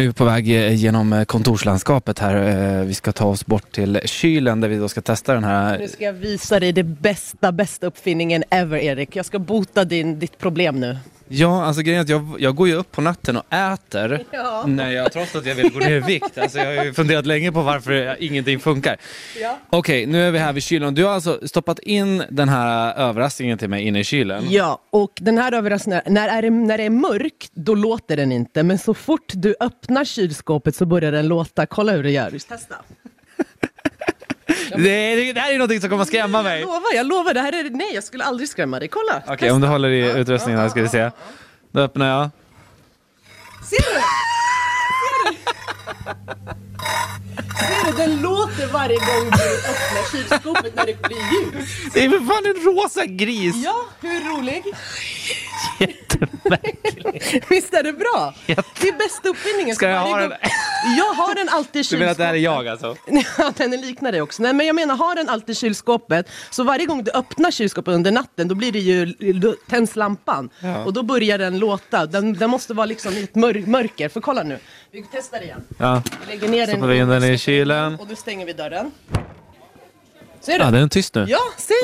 Nu på väg eh, genom kontorslandskapet här. Eh, Vi ska ta oss bort till kylen där vi då ska testa den här. Nu ska jag visa dig det bästa, bästa uppfinningen ever, Erik. Jag ska bota din, ditt problem nu. Ja, alltså grejen är att jag, jag går ju upp på natten och äter. Ja. När jag, trots att jag vill gå ner i vikt. Alltså jag har ju funderat länge på varför jag- ingenting funkar. Ja. Okej, nu är vi här vid kylen. Du har alltså stoppat in den här överraskningen till mig inne i kylen. Ja, och den här överraskningen, när, är det- när det är mörkt, då låter den inte. Men så fort du öppnar kylskåpet så börjar den låta. Kolla hur det gör. Testa. Det, det här är någonting som kommer att skrämma Jag mig. lovar, jag lovar. Det här är, nej, jag skulle aldrig skrämma dig. Kolla. Okej, om du håller i utrustningen här ska vi se. Då öppnar jag. Ser du? Ser du? Den låter varje gång du öppnar kylskåpet när det blir ljus. Det är för fan en rosa gris! Ja, hur rolig? Visst är det bra? Det är bästa uppfinningen. Ska jag Varje ha gång- den? Jag har den alltid i Du menar att det här är kylskåpet. jag alltså? Ja, den liknar dig också. Nej, men jag menar, har den alltid i kylskåpet, så varje gång du öppnar kylskåpet under natten, då blir det ju, då tänds lampan. Och då börjar den låta. Den, den måste vara liksom i ett mör- mörker. För kolla nu, vi testar igen. Ja. Vi lägger ner Stoppar vi in den i kylen. Och då stänger vi dörren. Ser du? Ja, den är tyst nu. Ja, säger